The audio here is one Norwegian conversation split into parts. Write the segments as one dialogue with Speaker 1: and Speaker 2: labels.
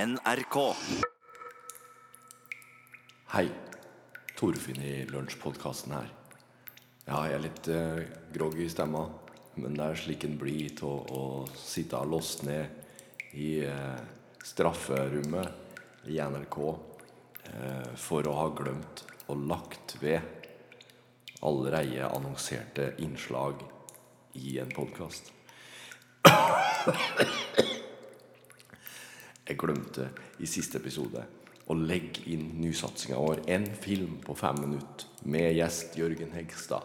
Speaker 1: NRK.
Speaker 2: Hei. Torfinn i Lunsjpodkasten her. Ja, jeg er litt eh, groggy i stemma, men det er slik en blir av å sitte låst ned i eh, strafferommet i NRK eh, for å ha glemt og lagt ved allerede annonserte innslag i en podkast. Jeg glemte i siste episode å legge inn nysatsinga vår. En film på fem minutter med gjest Jørgen Hegstad.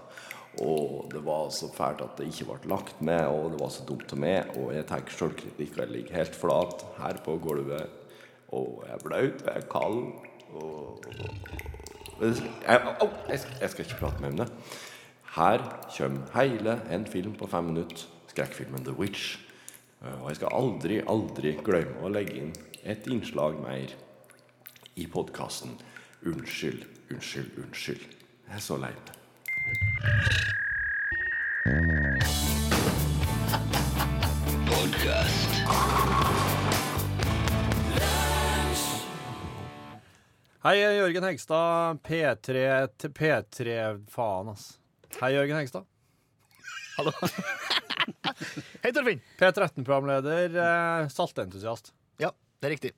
Speaker 2: Og det var så fælt at det ikke ble lagt med, og det var så dumt av meg. Og jeg tenker sjølkritikk ligger helt flat her på gulvet. Og jeg er blaut, jeg er kald. Og jeg, au, jeg, skal- jeg skal ikke prate mer om det. Her kommer hele en film på fem minutter. Skrekkfilmen The Witch. Eh, Og jeg skal aldri, aldri glemme å legge inn et innslag mer i podkasten. Unnskyld, unnskyld, unnskyld. Jeg er så lei meg.
Speaker 3: Hei, jeg er Jørgen Hegstad. P3 til P3 Faen, ass. Hei, Jørgen Hegstad.
Speaker 4: Hei, Torfinn.
Speaker 3: P13-programleder, eh, saltentusiast.
Speaker 4: Ja, det er riktig.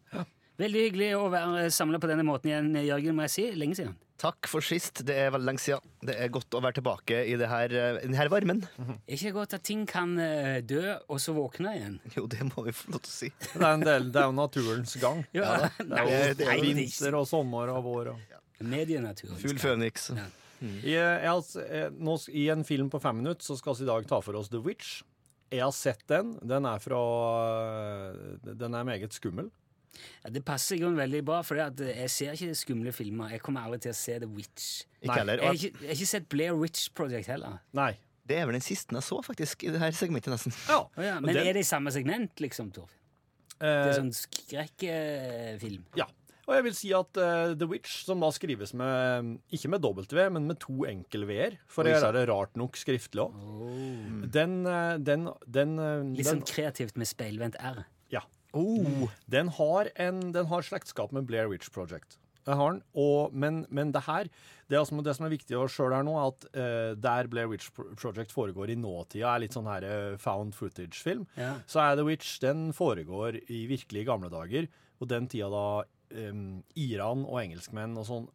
Speaker 5: Veldig hyggelig å være samla på denne måten igjen, Jørgen, må jeg si. Lenge siden.
Speaker 4: Takk for sist. Det er veldig lenge siden. Det er godt å være tilbake i det her, eh, den her varmen.
Speaker 5: Er ikke det godt at ting kan eh, dø, og så våkne igjen?
Speaker 4: Jo, det må vi få lov til å si.
Speaker 3: Det er, en del, det er jo naturens gang.
Speaker 5: Ja, nei,
Speaker 4: det- det er
Speaker 5: nei,
Speaker 4: jo
Speaker 5: det er ikke
Speaker 3: Vinter og sommer og vår. Og.
Speaker 5: medienatur. liksom.
Speaker 4: Full føniks.
Speaker 3: Jeg, jeg, har s- eh, nå, s- I en film på fem minutter så skal vi i dag ta for oss The Witch. Jeg har sett den. Den er fra eh, Den er meget skummel.
Speaker 5: Ja, det passer i grunnen veldig bra, for det at eh, jeg ser ikke skumle filmer. Jeg kommer aldri til å se The Witch.
Speaker 4: Ikke heller.
Speaker 5: Jeg har
Speaker 4: Og
Speaker 5: ikke, jeg har ikke sett Blair Witch Project heller.
Speaker 3: Nei.
Speaker 4: det er vel den siste jeg så, faktisk, i det her segmentet, nesten.
Speaker 3: Ja.
Speaker 5: Å ja, men
Speaker 3: Den-
Speaker 5: er det i samme segment, liksom, Torfinn? Det
Speaker 3: eh,
Speaker 5: er sånn skrekkfilm.
Speaker 3: Ja. Og jeg vil si at eh, The Witch, som da skrives med ikke med W, men med to enkel-v-er, for å
Speaker 4: Oi,
Speaker 3: gjøre
Speaker 4: sant.
Speaker 3: det rart nok skriftlig òg, den, eh, den, den, eh,
Speaker 5: Litt sånn
Speaker 3: den,
Speaker 5: kreativt med speilvendt R.
Speaker 3: ja. den har, en, den har slektskap med Blair Witch Project. Det har den, og, men, men det her det, er altså, det som er viktig å sjøl her nå, er at eh, der Blair Witch Pro- Project foregår i nåtida, er litt sånn her eh, found footage-film,
Speaker 5: Ja.
Speaker 3: så er The Witch den foregår i virkelig gamle dager, og den tida da em, Iran og engelskmenn og sånn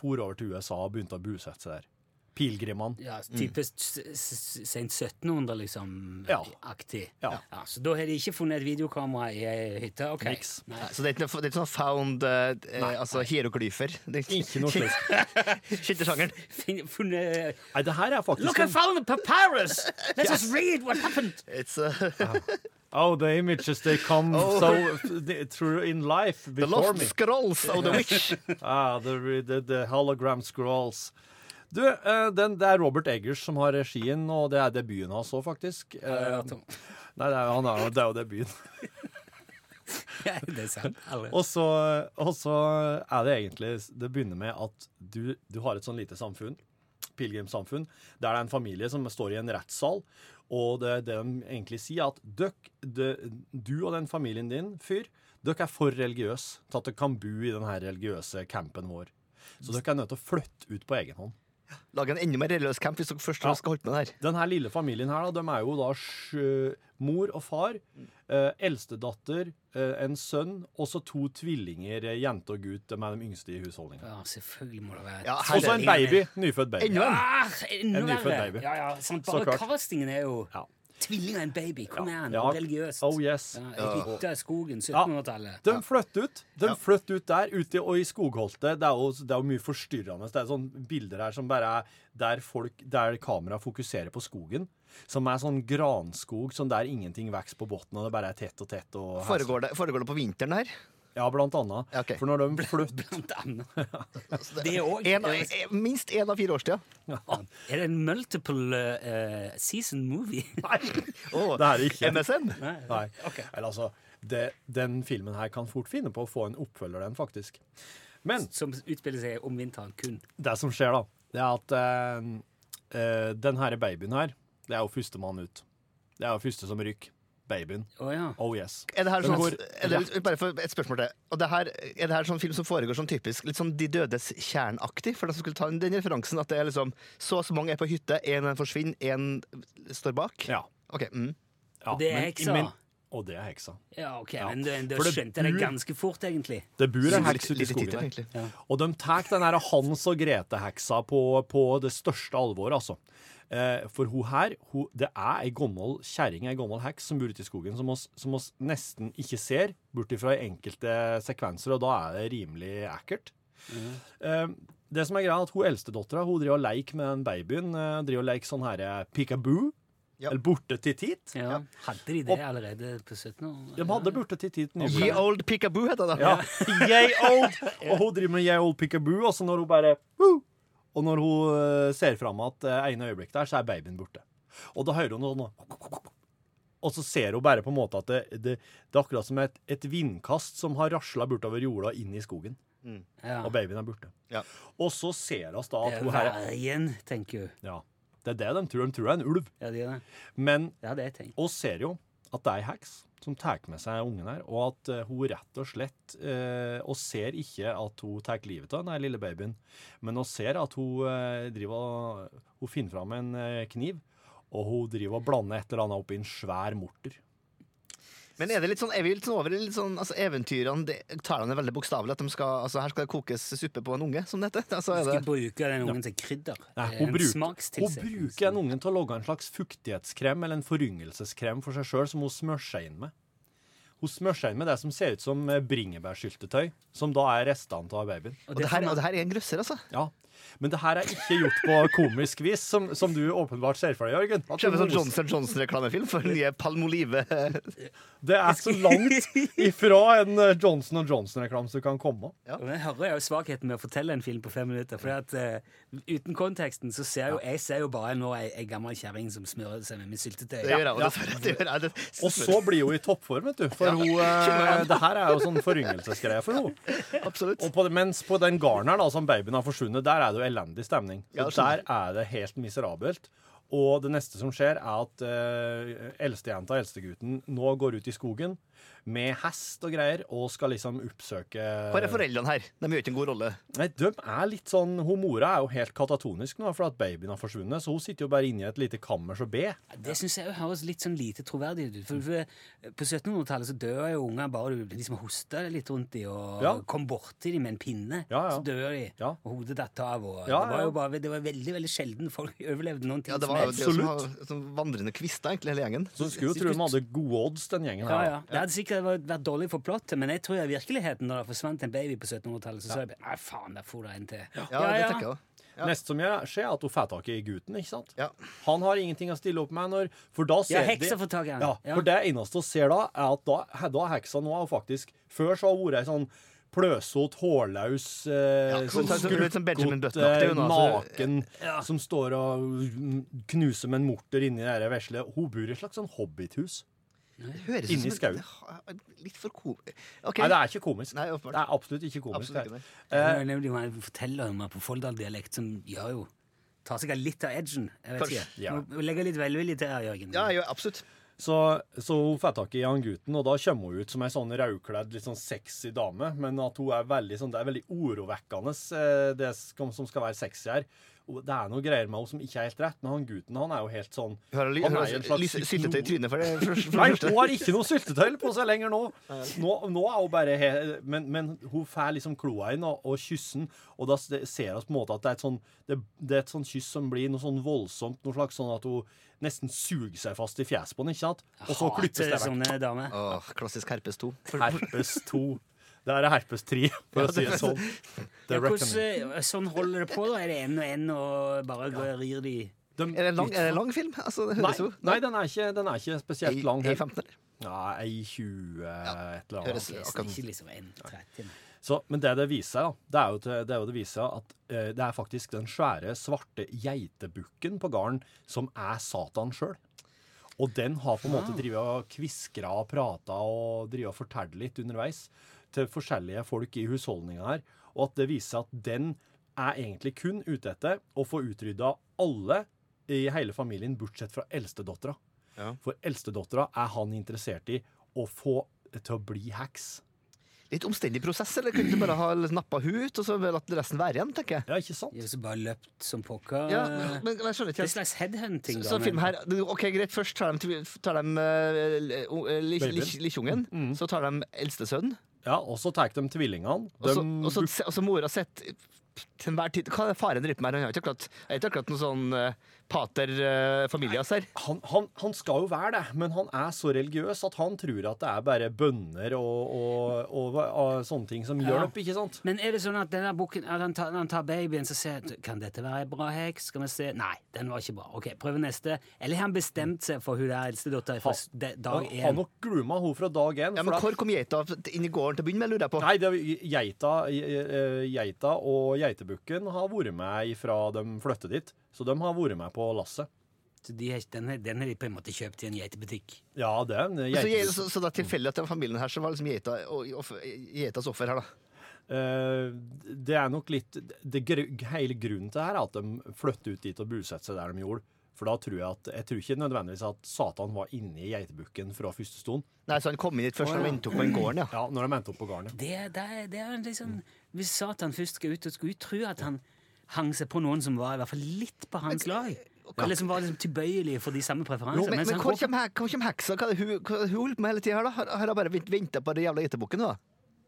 Speaker 3: for over til USA og begynte å bosette seg der. Pilegrimene.
Speaker 5: Ja, typisk sent 1700, liksom.
Speaker 3: Ja.
Speaker 5: Aktig.
Speaker 3: Ja.
Speaker 5: så da har de ikke funnet et videokamera i ei hytte? Ok.
Speaker 3: Niks.
Speaker 5: Nei.
Speaker 4: Så det er ikke, noe- det er ikke sånn found eh, eh, altså hieroglyfer. Det er
Speaker 3: Ikke noe slikt.
Speaker 4: Skyttersjangeren.
Speaker 5: Fin- Funnet
Speaker 3: Nei, det her er
Speaker 5: Look,
Speaker 3: faktisk
Speaker 5: I found a papyrus! Let's just read what happened!
Speaker 4: It's uh,
Speaker 3: Oh, the images, they come so they, through in life
Speaker 4: the
Speaker 3: before
Speaker 4: lost
Speaker 3: me.
Speaker 4: scrolls of the witch.
Speaker 3: Ah, the, the, the hologram scrolls. Du, eh, den, det er Robert Eggers som har regien, og det er debuten hans òg, faktisk. Eh,
Speaker 5: Nei,
Speaker 3: nei, det er, han er, jo- det er jo debuten.
Speaker 5: det er sant. Aldri.
Speaker 3: Og så, og så er det egentlig Det begynner med at du, du har et sånn lite samfunn, pilegrimssamfunn, der det er en familie som står i en rettssal, og det, det de egentlig sier, er at døkk, det, du og den familien din, fyr, dere er for religiøse til at dere kan bo i den her religiøse campen vår. Så dere er nødt til å flytte ut på egen hånd.
Speaker 4: Lag en enda mer religiøs camp hvis dere først skal holde på med det her.
Speaker 3: Den her lille familien her, da, de er jo da sj- mor og far, eh, eldstedatter, eh, en sønn, og så to tvillinger, eh, jente og gutt, de er de yngste i husholdningen.
Speaker 5: Ja, selvfølgelig må det være
Speaker 4: Ja,
Speaker 3: Og så en
Speaker 4: herlig.
Speaker 3: baby, nyfødt baby.
Speaker 4: Enda en.
Speaker 5: Ah, enda
Speaker 3: En nyfødt
Speaker 5: verre!
Speaker 3: baby.
Speaker 5: Ja, ja, sant.
Speaker 3: Så
Speaker 5: Bare
Speaker 3: klart.
Speaker 5: castingen er jo
Speaker 3: Ja.
Speaker 5: Tvilling og en baby, kom igjen!
Speaker 3: Ja.
Speaker 5: Religiøst.
Speaker 3: Oh, yes.
Speaker 5: ja, I hytta i skogen, 1700-tallet.
Speaker 3: De flytter ut De flytter ut der, ute i- og i skogholtet. Det er jo, det er jo mye forstyrrende. Det er sånne bilder her som bare er der, folk, der kamera fokuserer på skogen. Som er sånn granskog som der ingenting vokser på bunnen, og det bare er tett og tett. Og
Speaker 4: Foregår det, foregår det på vinteren her?
Speaker 3: Ja, blant annet.
Speaker 4: Ja, ok.
Speaker 3: For når de flytter
Speaker 5: Blant annet. Det òg.
Speaker 4: En, eh, minst én av fire årstida.
Speaker 5: Er det en multiple eh, season movie?
Speaker 3: Nei,
Speaker 4: Oh,
Speaker 3: det er det ikke.
Speaker 4: MSN.
Speaker 3: Nei. Eller altså, det, den filmen her kan fort finne på å få en oppfølger, den faktisk. Men
Speaker 5: Som utspiller seg om vinteren kun.
Speaker 3: det som skjer, da, det er at eh, eh, den her babyen her, det er jo førstemann ut. Det er jo første som rykker. babyen.
Speaker 5: Å ja.
Speaker 3: Oh yes.
Speaker 4: Er det her
Speaker 3: Den
Speaker 4: sånn,
Speaker 3: går
Speaker 4: er det, bare for et spørsmål til. Og det her, er det her sånn film som foregår sånn typisk litt sånn De dødes kjernaktig? For de som skulle ta den, den referansen at det er liksom så og så mange er på hytte, én av dem forsvinner, én står bak?
Speaker 3: Ja.
Speaker 4: Ok, mm.
Speaker 3: ja
Speaker 5: Og det er heksa.
Speaker 3: og det er heksa.
Speaker 5: ja ok, men du, du
Speaker 3: For det
Speaker 5: skjønte det
Speaker 3: bur-
Speaker 5: ganske fort, egentlig.
Speaker 3: Det bor en
Speaker 4: Litt-
Speaker 3: heks ute i
Speaker 4: litt i
Speaker 3: skogen
Speaker 4: tittelen,
Speaker 3: der.
Speaker 4: egentlig.
Speaker 3: Og de tar den her Hans og Grete-heksa på, på det største alvor, altså. Eh, for hun her, hun, det er ei gammel kjerring, ei gammel heks, som bor ute i skogen, som oss, som oss nesten ikke ser, bort ifra i enkelte sekvenser, og da er det rimelig ekkelt. Eh, det som er greia, er at hun eldstedattera hun driver og leker med den babyen. Eh, driver og leker sånn her eh, peekaboo,
Speaker 4: Ja.
Speaker 3: eller borte til tit.
Speaker 5: Ja. Hadde de det allerede på 17 år?
Speaker 3: De hadde borte til tit nylig.
Speaker 4: Ye old peekaboo heter det. da.
Speaker 3: Ja. Yay old! Og hun driver med yay old pickaboo, og så når hun bare Woo! Og når hun eh, ser fram at eh, ene øyeblikk der, så er babyen borte. Og da hører hun noe sånn, Og så ser hun bare på en måte at det, det, det er akkurat som et, et vindkast som har rasla bortover jorda og inn i skogen.
Speaker 5: Ja.
Speaker 3: Og babyen er borte.
Speaker 4: Ja.
Speaker 3: Og så ser vi da
Speaker 5: Det
Speaker 3: at
Speaker 5: er
Speaker 3: hun her
Speaker 5: vargen, tenker hun.
Speaker 3: Ja. Det er det de tror. De tror det er en ulv.
Speaker 5: Ja, det er det.
Speaker 3: Men
Speaker 5: Det hadde jeg tenkt.
Speaker 3: og ser jo at det er ei heks som tar med seg ungen her, og at eh, hun rett og slett eh, Og ser ikke at hun tar livet av den her lille babyen, men hun ser at hun eh, driver og Hun finner fram en eh, kniv, og hun driver og blander et eller annet opp i en svær morter.
Speaker 4: Men er det litt sånn, er vi litt sånn over i litt sånn, altså eventyrene det, tar han det veldig bokstavelig? At de skal, altså her skal det kokes suppe på en unge, som det heter? Altså, er
Speaker 5: Skal
Speaker 4: det,
Speaker 5: bruke den ungen til krydder. Eh,
Speaker 3: Nei,
Speaker 5: En
Speaker 3: hun, bruker, hun
Speaker 5: smakstilsetning.
Speaker 3: bruker den ungen til å lage en slags fuktighetskrem eller en foryngelseskrem for seg sjøl, som hun smører seg inn med. Hun smører seg inn med det som ser ut som eh, bringebærsyltetøy, som da er restene av babyen.
Speaker 4: og, det her, og det her er en grøsser, altså.
Speaker 3: Ja, men det her er ikke gjort på komisk vis, som, som du åpenbart ser for deg, Jørgen. At
Speaker 4: Kjøper sånn
Speaker 3: det-
Speaker 4: Johnson Johnson-reklamefilm for nye Palmolive.
Speaker 3: Det er så langt ifra en eh, Johnson Johnson-reklame som kan komme.
Speaker 5: Og Jeg hører jo svakheten med å fortelle en film på fem minutter. For at, eh, uten konteksten så ser jo, jeg ser jo bare nå ei, ei gammel kjerring som smører seg med, med syltetøy.
Speaker 4: Det gjør jeg, og det, det gjør jeg. Det,
Speaker 3: Og så blir hun i toppform, vet du. For hun, eh, det her er jo sånn foryngelsesgreie for henne.
Speaker 4: absolutt.
Speaker 3: Og på, det- mens på den garneren da, som babyen har forsvunnet, der er det jo elendig stemning.
Speaker 4: Ja,
Speaker 3: Og der er det helt miserabelt. Og det neste som skjer, er at eh, eldstejenta og eldstegutten nå går ut i skogen med hest og greier og skal liksom oppsøke
Speaker 4: Bare foreldrene her. De gjør ikke en god rolle.
Speaker 3: Nei, de er litt sånn Hun mora er jo helt katatonisk nå, for at babyen har forsvunnet. Så hun sitter jo bare inne i et lite kammers og ber.
Speaker 5: Det syns jeg jo høres litt sånn lite troverdig ut. For, for På 1700-tallet så dør jo unger bare du liksom hoster litt rundt dem og
Speaker 3: Ja.
Speaker 5: kom borti dem med en pinne.
Speaker 3: Ja, ja.
Speaker 5: Så dør de,
Speaker 3: Ja.
Speaker 5: og hodet datt av. Og
Speaker 3: Ja,
Speaker 5: det var
Speaker 3: ja.
Speaker 5: jo bare, det var veldig veldig sjelden folk overlevde noen ting.
Speaker 4: Ja, det
Speaker 5: som
Speaker 4: var jo
Speaker 5: helst.
Speaker 4: det som var som vandrende kvister, egentlig, hele gjengen.
Speaker 3: Så hun skulle jo tro de hadde gode odds, den gjengen
Speaker 5: Ja,
Speaker 3: her.
Speaker 5: ja. Det hadde sikkert vært, vært dårlig for plottet, men jeg tror i virkeligheten, når det forsvant en baby på 1700-tallet, så sa jeg bare Nei, faen, der for det en til.
Speaker 4: Ja, det tenker jeg også.
Speaker 3: Neste som gjør- skjer, er at hun får tak i gutten, ikke sant?
Speaker 4: Ja.
Speaker 3: Han har ingenting å stille opp med når For da ser
Speaker 5: Ja, heksa
Speaker 3: de-
Speaker 5: får tak i han.
Speaker 3: Ja,
Speaker 5: Ja.
Speaker 3: for det eneste hun ser da, er at da, he- da er heksa nå har faktisk Før så har hun vært ei sånn Pløsot, hårlaus, eh,
Speaker 4: Ja,
Speaker 3: sånn
Speaker 4: sånn- sånn- litt sånn Benjamin
Speaker 3: skrukket,
Speaker 4: Button-aktig, hun, altså.
Speaker 3: naken, som står og mm, knuser med en morter inni det her vesle. Hun bor i et slags sånn hobbithus.
Speaker 4: Høres ut
Speaker 3: Inni
Speaker 4: som en-
Speaker 3: skauen.
Speaker 4: Litt for ko... Ok.
Speaker 3: Nei, det er ikke komisk.
Speaker 4: Nei, åpenbart.
Speaker 3: det er absolutt ikke komisk.
Speaker 4: Absolutt ikke,
Speaker 3: det
Speaker 4: nei.
Speaker 3: her.
Speaker 5: Eh. Nemlig man forteller om meg på Folldal-dialekt, som gjør jo Tar seg av litt av edgen. Jeg vet
Speaker 4: Kanskje,
Speaker 5: ikke.
Speaker 3: ja.
Speaker 5: Må legge litt velvilje til her, Jørgen.
Speaker 4: Ja, jo, absolutt.
Speaker 3: Så, så hun får tak i han gutten, og da kommer hun ut som ei sånn rødkledd, litt sånn sexy dame. Men at hun er veldig sånn, det er veldig orovekkende, eh, det som, som skal være sexy her. Og det er noe greier med henne som ikke er helt rett, men han gutten han er jo helt sånn
Speaker 4: Hun har
Speaker 3: han er jo en slags
Speaker 4: lys- syltetøy i
Speaker 3: psykolog.
Speaker 4: trynet for det. For, for,
Speaker 3: Nei,
Speaker 4: det første.
Speaker 3: hun har ikke noe syltetøy på seg lenger nå. Nå, nå er hun bare he men, men hun får liksom kloa inn og, og kyssen, og da s- det- ser vi på en måte at det er et sånn det, det er et sånn kyss som blir noe sånn voldsomt, noe slags sånn at hun nesten suger seg fast i fjeset på den, ikke sant? Og så klippes det vekk.
Speaker 5: Sånne damer.
Speaker 4: Åh, klassisk herpes 2. For,
Speaker 3: Herpes 2. Det her er herpes 3, for å si det sånn. The
Speaker 5: Ja,
Speaker 3: Reckoning.
Speaker 5: hvordan, eh, sånn holder det på, da? Er det én og én, og bare går- rir de
Speaker 4: er, det en lang, er det en lang film? Altså, det
Speaker 3: Nei,
Speaker 4: høres jo
Speaker 3: nei den, er ikke, den er ikke spesielt lang.
Speaker 4: Ei- ei 15 eller?
Speaker 3: Nei, ei 20 et eller annet.
Speaker 4: Høres
Speaker 5: Det er
Speaker 4: akkurat
Speaker 3: sånn.
Speaker 5: Ikke liksom en 30.
Speaker 3: Så, men det det viser seg, da, det er jo, til, det er jo det viser seg at eh, det er faktisk den svære, svarte geitebukken på gården som er Satan sjøl. Og den har på en måte drevet og kviskra og prata og drevet og fortalt litt underveis til forskjellige folk i husholdninga her. Og at det viser seg at den er egentlig kun ute etter å få utrydda alle i hele familien, bortsett fra eldstedattera.
Speaker 4: Ja.
Speaker 3: For eldstedattera er han interessert i å få til å bli heks.
Speaker 4: Litt omstendig prosess, eller kunne du bare ha nappa hun ut, og så latt resten være igjen, tenker jeg.
Speaker 3: Ja, ikke sant?
Speaker 5: Hvis du bare løpt som pokker
Speaker 4: Ja,
Speaker 3: Eh.
Speaker 4: men, men jeg skjønner
Speaker 5: Det
Speaker 4: ikke
Speaker 5: er en
Speaker 4: helt.
Speaker 5: slags headhunting, da.
Speaker 4: Så
Speaker 5: men-
Speaker 4: filmen her, ok greit, Først tar de, tar de eh, l- o- eh, li-
Speaker 3: Babyen.
Speaker 4: li- lillejungen, så tar de eldstesønnen,
Speaker 3: Ja, Og så tar de tvillingene.
Speaker 4: og så-
Speaker 3: Dem
Speaker 4: og så og så mora sitt til enhver tid Hva er det faren driver med? her? Han er ikke akkurat, er ikke akkurat noen sånn eh, pater eh, familias her.
Speaker 3: han, han, han skal jo være det, men han er så religiøs at han tror at det er bare bønner og, og, og, og sånne ting som gjør det opp, ikke sant?
Speaker 5: Men er det sånn at denne boken, at han tar, han tar babyen så ser han, Kan dette være ei bra heks? Skal vi se Nei, den var ikke bra. Ok, prøv neste. Eller har han bestemt seg for hun der eldstedattera fra s- de-
Speaker 3: Han
Speaker 5: dag
Speaker 3: han har
Speaker 5: én?
Speaker 3: nok gluma hun fra dag én. for
Speaker 4: Ja, men
Speaker 3: at-
Speaker 4: Hvor kom geita inn i gården til å begynne med, lurer jeg på?
Speaker 3: Nei, det, er geita, eh, geita og geitebukken har vært med fra de flyttet dit. Så de har vært med på lasset.
Speaker 5: Så de har- Den har den har de på en måte kjøpt i en geitebutikk.
Speaker 3: Ja, det er en
Speaker 4: Så,
Speaker 3: geite...
Speaker 4: jeg- så, så det er tilfeldig at den familien her så var liksom geita, og, og, geitas offer her, da.
Speaker 3: Eh, det er nok litt det, gr- Hele grunnen til det her er at de flytter ut dit og bosetter seg der de gjorde. For da tror jeg at Jeg tror ikke nødvendigvis at Satan var inni geitebukken fra første stund.
Speaker 4: Nei, så han kom inn hit først
Speaker 5: Å,
Speaker 4: når
Speaker 5: ja.
Speaker 4: han inntok på den gården, ja.
Speaker 3: Ja, når de endte opp på gården.
Speaker 5: Det, det, er- det er en liksom Hvis Satan først skal ut, så skulle vi tro at han hang seg på noen som var i hvert fall litt på hans lag. Eller som var liksom tilbøyelige for de samme preferansene.
Speaker 4: Men,
Speaker 5: mens
Speaker 4: men
Speaker 5: han
Speaker 4: hvor
Speaker 5: går-
Speaker 4: kommer kom heksa? Hva er det hun, hva er det hun holder på med hele tida her, da? Har- Har hun bare venta på den jævla geitebukken, da?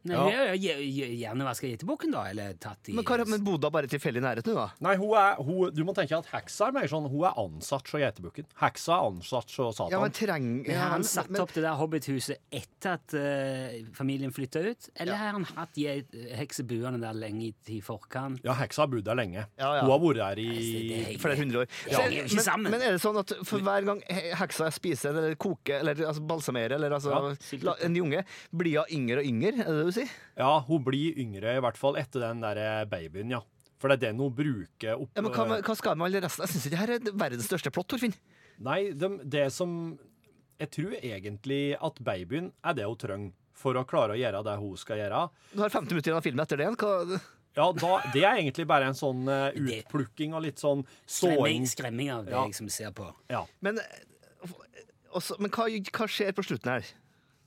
Speaker 5: Nei,
Speaker 3: Ja.
Speaker 5: ja. ja, ja, Gjerne vaska geitebukken, da. Eller tatt i
Speaker 4: Men, hva, men bodde hun bare tilfeldig i nærheten, hun, da?
Speaker 3: Nei, hun er, hun, du må tenke at heksa er mer sånn Hun er ansatt hos geitebukken. Heksa er ansatt hos Satan.
Speaker 4: Ja, men treng...
Speaker 5: Men
Speaker 4: Ja,
Speaker 5: Har han
Speaker 4: men-
Speaker 5: satt
Speaker 4: men-
Speaker 5: opp det der hobbithuset etter at eh, familien flytta ut? Eller har han hatt de eh, heksebuene der lenge i i forkant? Altså,
Speaker 3: Ja, heksa har bodd der lenge.
Speaker 4: Ja, ja.
Speaker 3: Hun har vært der i
Speaker 5: Det er
Speaker 4: Flere hundre år. Så,
Speaker 5: Ja, de er jo ikke
Speaker 4: men,
Speaker 5: sammen.
Speaker 4: men er det sånn at for hver gang he- heksa spiser eller koker eller altså, balsamerer eller altså, la, en junge, blir hun yngre og yngre? Er det det du sier?
Speaker 3: Ja, hun blir yngre, i hvert fall etter den der babyen, ja. For det er den hun bruker opp...
Speaker 4: Ja, men hva, hva skal vi med alle resten? Jeg syns ikke det her er verdens største plott, Torfinn.
Speaker 3: Nei, det, det som Jeg tror egentlig at babyen er det hun trenger for å klare å gjøre det hun skal gjøre.
Speaker 4: Du har 50 minutter igjen av filmen etter det igjen. Hva
Speaker 3: Ja, da, Det er egentlig bare en sånn eh,
Speaker 5: Det-
Speaker 3: utplukking og litt sånn såing.
Speaker 5: Skremming, skremming av det
Speaker 3: Ja.
Speaker 5: jeg som ser på.
Speaker 3: Ja.
Speaker 4: Men, eh, også, men hva, hva skjer på slutten her?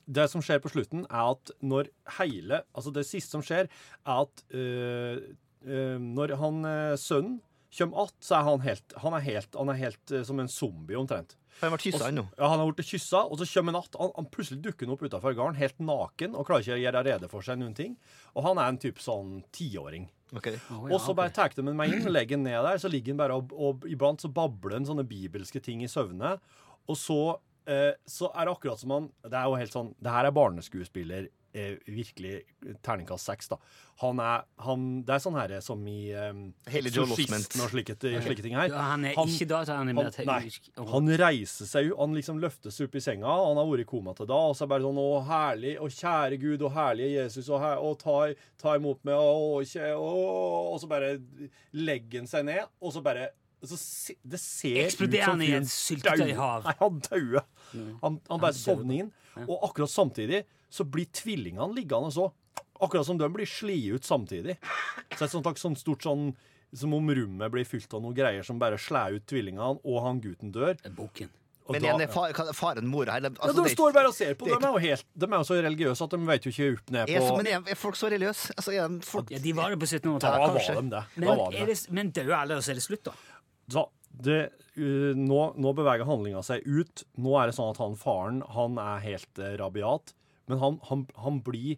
Speaker 3: det som skjer på slutten, er at når hele Altså, det siste som skjer, er at øh, øh, når han øh, sønnen kommer att, så er han helt Han er helt, han er helt øh, som en zombie, omtrent.
Speaker 4: Har han vært
Speaker 3: Og så-
Speaker 4: kyssa ennå?
Speaker 3: Ja, han har blitt kyssa, og så kommer han att. Han, han plutselig dukker han opp utafor gården, helt naken, og klarer ikke å gjøre rede for seg noen ting. Og han er en type sånn tiåring.
Speaker 4: Okay.
Speaker 5: Å, ja,
Speaker 3: Og så
Speaker 5: ok.
Speaker 3: bare tar de meg inn, legger den ned der, så ligger den bare og, og iblant så babler den sånne bibelske ting i søvne. Og så, eh, så er det akkurat som han Det er jo helt sånn Det her er barneskuespiller. Eh, virkelig terningkast seks, da. Han er han, Det er sånn her som i eh,
Speaker 4: Hele Joel
Speaker 3: Exorcisten
Speaker 4: Osment.
Speaker 3: og slike, slike ting her.
Speaker 5: Ja, han er ikke dataanimert.
Speaker 3: han, nei, han reiser seg jo, han liksom løftes opp i senga, og han har vært i koma til da, og så er det bare sånn Å, herlig, å kjære Gud, og herlige Jesus, og, her, og ta, ta imot meg, og, kjæ- å, og så bare legger han seg ned, og så bare så se, Det ser
Speaker 5: Eksploderer han i et syltetøyhav.
Speaker 3: Nei, han dauer. Han, han bare sovner inn, og akkurat samtidig så blir tvillingene liggende så. Akkurat som de blir sliet ut samtidig. Så et sånt, slags sånn stort sånn Som om rommet blir fylt av noen greier som bare slår ut tvillingene, og han gutten dør.
Speaker 5: Boken.
Speaker 3: Og
Speaker 4: Men
Speaker 3: da-
Speaker 4: igjen, det er far, hva- faren mora her det-
Speaker 3: ja,
Speaker 4: altså,
Speaker 3: De
Speaker 4: det er-
Speaker 3: står bare og ser på. De
Speaker 4: det er
Speaker 3: er jo, helt, de er jo så religiøse at de vet jo ikke opp ned
Speaker 4: er,
Speaker 3: på
Speaker 4: men er, er folk så religiøse? Altså, er de folk,
Speaker 5: Ja, de var det på
Speaker 3: Da
Speaker 5: 1700-tallet.
Speaker 3: var
Speaker 4: kanskje.
Speaker 3: de det. Da var
Speaker 5: Men,
Speaker 3: de
Speaker 5: er
Speaker 3: det.
Speaker 5: det- men døde alle, og så er det slutt, da?
Speaker 3: Så det uh, nå, nå beveger handlinga seg ut. Nå er det sånn at han faren han er helt eh, rabiat, men han, han, han blir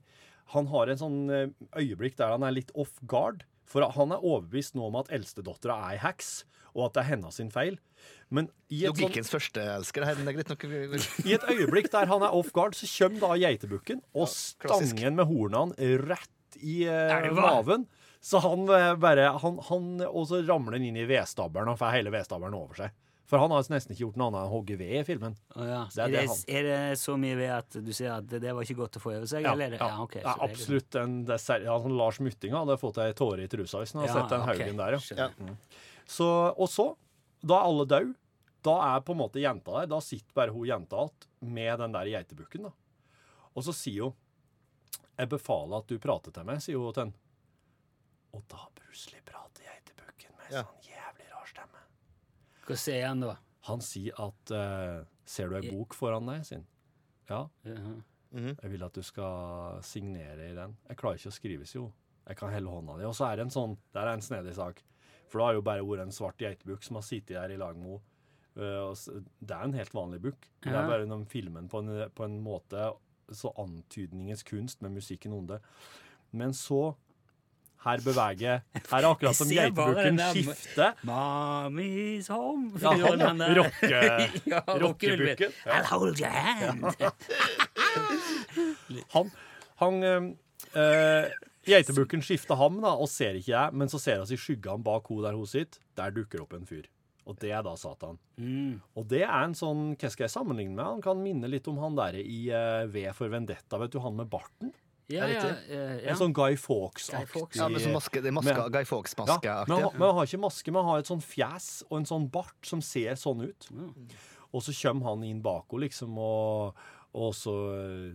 Speaker 3: Han har en sånn eh, øyeblikk der han er litt off guard. For han er overbevist nå om at eldstedattera er ei heks, og at det er hennes sin feil. Men i et sånn
Speaker 4: Logikkens førsteelsker her, men det er greit nok. vi- vi-
Speaker 3: I et øyeblikk der han er off guard, så kommer da geitebukken og
Speaker 4: klassisk.
Speaker 3: stangen med hornene rett i eh,
Speaker 5: Elva.
Speaker 3: maven. Så han eh, bare han, han, Og så ramler han inn i vedstabelen og får hele vedstabelen over seg. For han har nesten ikke gjort noe annet enn å hogge ved i filmen.
Speaker 5: Å, ja.
Speaker 3: Det er
Speaker 5: er,
Speaker 3: det
Speaker 5: det, er det så mye ved at du ser at det, det var ikke godt å få over seg? eller? er det- ja, ok,
Speaker 3: det er
Speaker 5: så det er liksom-
Speaker 3: absolutt en det er seri- ja, sånn Lars Myttinga hadde fått ei tåre i trusa hvis han hadde
Speaker 5: Ja,
Speaker 3: sett den
Speaker 5: ok,
Speaker 3: haugen der, ja.
Speaker 5: skjønner.
Speaker 4: Ja.
Speaker 3: Så, og så, da er alle døde, da er på en måte jenta der. Da sitter bare hun jenta igjen med den der geitebukken. da. Og så sier hun 'Jeg befaler at du prater til meg', sier hun til henne. Og da plutselig prater geitebukken med en
Speaker 4: Ja.
Speaker 3: sånn jævlig rar stemme.
Speaker 5: Hva sier han da?
Speaker 3: Han sier at eh, Ser du ei bok foran deg? sier han. Ja,
Speaker 5: Jaha. Mm.
Speaker 3: jeg vil at du skal signere i den. Jeg klarer ikke å skrive, sier hun. Jeg kan helle hånda di. Og så er det en sånn Der er en snedig sak. For det har jo bare vært en svart geitebukk som har sittet der i lag med henne. Øh, og s- Det er en helt vanlig bukk. Det
Speaker 5: Ja.
Speaker 3: er bare når filmen på en, på en måte Så antydningens kunst med musikken onde. Men så Her beveger Her er akkurat som
Speaker 5: Jeg ser bare
Speaker 3: geitebukken
Speaker 5: den der-
Speaker 3: skifter.
Speaker 5: Mommy's home.
Speaker 3: Ja,
Speaker 5: Gjør den der.
Speaker 3: rocke...
Speaker 5: Ja,
Speaker 3: rockebukken.
Speaker 5: rockebukken. I'll hold your hand.
Speaker 3: Han, han eh, eh, Geitebukken skifter ham da, og ser ikke jeg, men så ser oss i skyggene bak henne der hun sitter. Der dukker opp en fyr. Og det er da Satan.
Speaker 5: Mm.
Speaker 3: Og det er en sånn Hva skal jeg sammenligne med? Han kan minne litt om han derre i eh, V for Vendetta, vet du, han med barten?
Speaker 5: Ja, ja,
Speaker 4: riktig.
Speaker 5: eh,
Speaker 3: En
Speaker 5: ja.
Speaker 3: sånn Guy
Speaker 5: Guy Fawkes. sånn
Speaker 3: Fawkes-aktig
Speaker 4: Ja, men så maske, det er maska,
Speaker 3: Men-
Speaker 4: Guy
Speaker 3: ja, men, han,
Speaker 4: Fawkes-maske-aktig.
Speaker 3: men han har ikke maske, men han har et sånn fjes og en sånn bart som ser sånn ut.
Speaker 4: Mm.
Speaker 3: Og så kommer han inn bak henne, liksom, og, og så øh,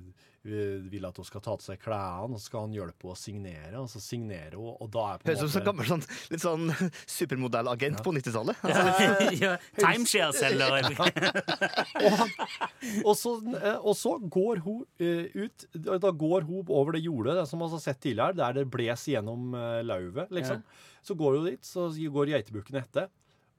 Speaker 3: vil at hun skal ta til seg klærne, og så skal han hjelpe henne å signere, og så signerer hun, og da er på
Speaker 4: Høres
Speaker 3: en
Speaker 4: ut som en
Speaker 3: måte
Speaker 4: gammel sånn, litt sånn supermodellagent på 90-tallet. Altså,
Speaker 5: ja. Timeshare-selgeren.
Speaker 3: og så, eh, og så går hun eh, ut Da går hun over det jordet det som vi har sett tidligere, der det bles gjennom eh, lauvet, liksom. Så går hun dit, så går geitebukken etter,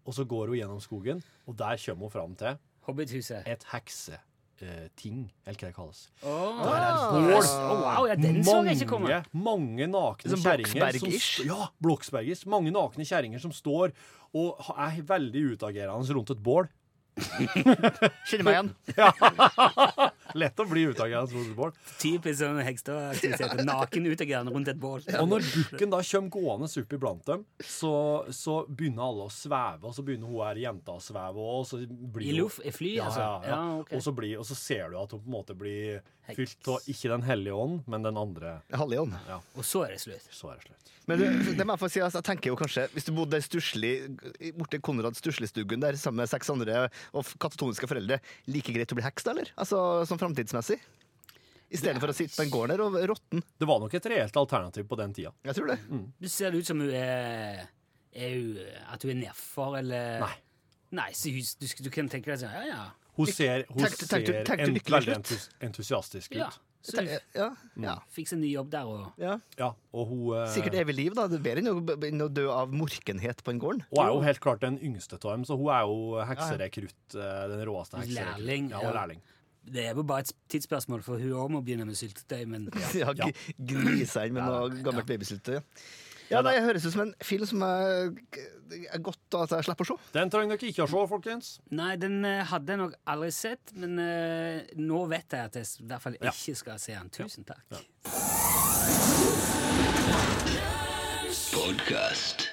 Speaker 3: og så går hun gjennom skogen, og der kommer hun fram til
Speaker 5: Hobbithuset.
Speaker 3: et hekseting, eller hva det kalles.
Speaker 5: Åh.
Speaker 3: Der er
Speaker 5: Åh,
Speaker 3: bål.
Speaker 5: Oh, wow, ja, den så jeg ikke komme.
Speaker 3: Mange, mange nakne
Speaker 4: Sånn
Speaker 3: kjerringer som
Speaker 4: Bloksberg-ish?
Speaker 3: st- Ja, Bloksbergers. Mange nakne kjerringer som står og ha- er veldig utagerende rundt et bål.
Speaker 4: kjenner meg igjen.
Speaker 3: Lett å bli utagerende rundt et bål.
Speaker 5: Typisk sånn heksteaktivitet. Naken utagerende rundt et bål.
Speaker 3: Og når bukken da kommer gående opp iblant dem, så, så begynner alle å sveve, og så begynner hun her jenta å sveve og så blir
Speaker 5: I
Speaker 3: hun-
Speaker 5: luft? I fly,
Speaker 3: Ja,
Speaker 5: altså?
Speaker 3: ja, ja.
Speaker 5: Ja, ok.
Speaker 3: Og, så blir, og så ser du at hun på en måte blir
Speaker 5: Heks.
Speaker 3: fylt av ikke Den hellige ånd, men den andre.
Speaker 4: Hallion.
Speaker 5: Og så er det slutt.
Speaker 3: Så er det slutt.
Speaker 4: Men du, det må jeg få si, altså, jeg tenker jo kanskje Hvis du bodde stusslig, borte i Konrad Stussligstuggen der sammen med seks andre og f- katatoniske foreldre, like greit å bli heks da, eller? Altså sånn framtidsmessig? I stedet for å sitte på en gård der og råtne.
Speaker 3: Det var nok et reelt alternativ på den tida.
Speaker 4: Jeg tror det.
Speaker 3: Mm.
Speaker 5: Du ser det ut som hun er, er hun, At hun er nedfor, eller
Speaker 3: Nei.
Speaker 5: Nei, så hun, du, du kan tenke deg sånn Ja, ja.
Speaker 3: Hun ser, hun
Speaker 4: Tenkte- tenkte-
Speaker 3: ser
Speaker 4: tenkte
Speaker 3: en,
Speaker 4: lykkelig
Speaker 3: veldig
Speaker 4: slutt.
Speaker 3: entus, entusiastisk ut.
Speaker 5: ja.
Speaker 3: Ja.
Speaker 5: Så hun
Speaker 4: Ja.
Speaker 3: Mm.
Speaker 4: ja.
Speaker 5: fikk seg ny jobb der og
Speaker 3: og hun, eh,
Speaker 4: Sikkert evig liv, da. Det er bedre enn å, enn å dø av morkenhet på en gård.
Speaker 3: hun er jo helt klart den yngste av dem, så hun er jo hekserekrutt. eh, Den råeste hekserekrutt.
Speaker 5: Lærling,
Speaker 3: Ja, og
Speaker 5: ja.
Speaker 3: lærling.
Speaker 5: Det er jo bare et tidsspørsmål, for hun òg må begynne med syltetøy, men
Speaker 4: Ja,
Speaker 3: Ja.
Speaker 4: ja. Gniseren med noe gammelt babysylte. Ja. Ja, nei, jeg høres ut som en film som jeg, er godt at jeg slipper å se.
Speaker 3: Den trenger dere ikke å se, folkens.
Speaker 5: Nei, den eh, hadde jeg nok aldri sett, men eh, nå vet jeg at jeg s- i hvert fall
Speaker 3: Ja.
Speaker 5: ikke skal se den. Tusen takk.
Speaker 1: Podcast.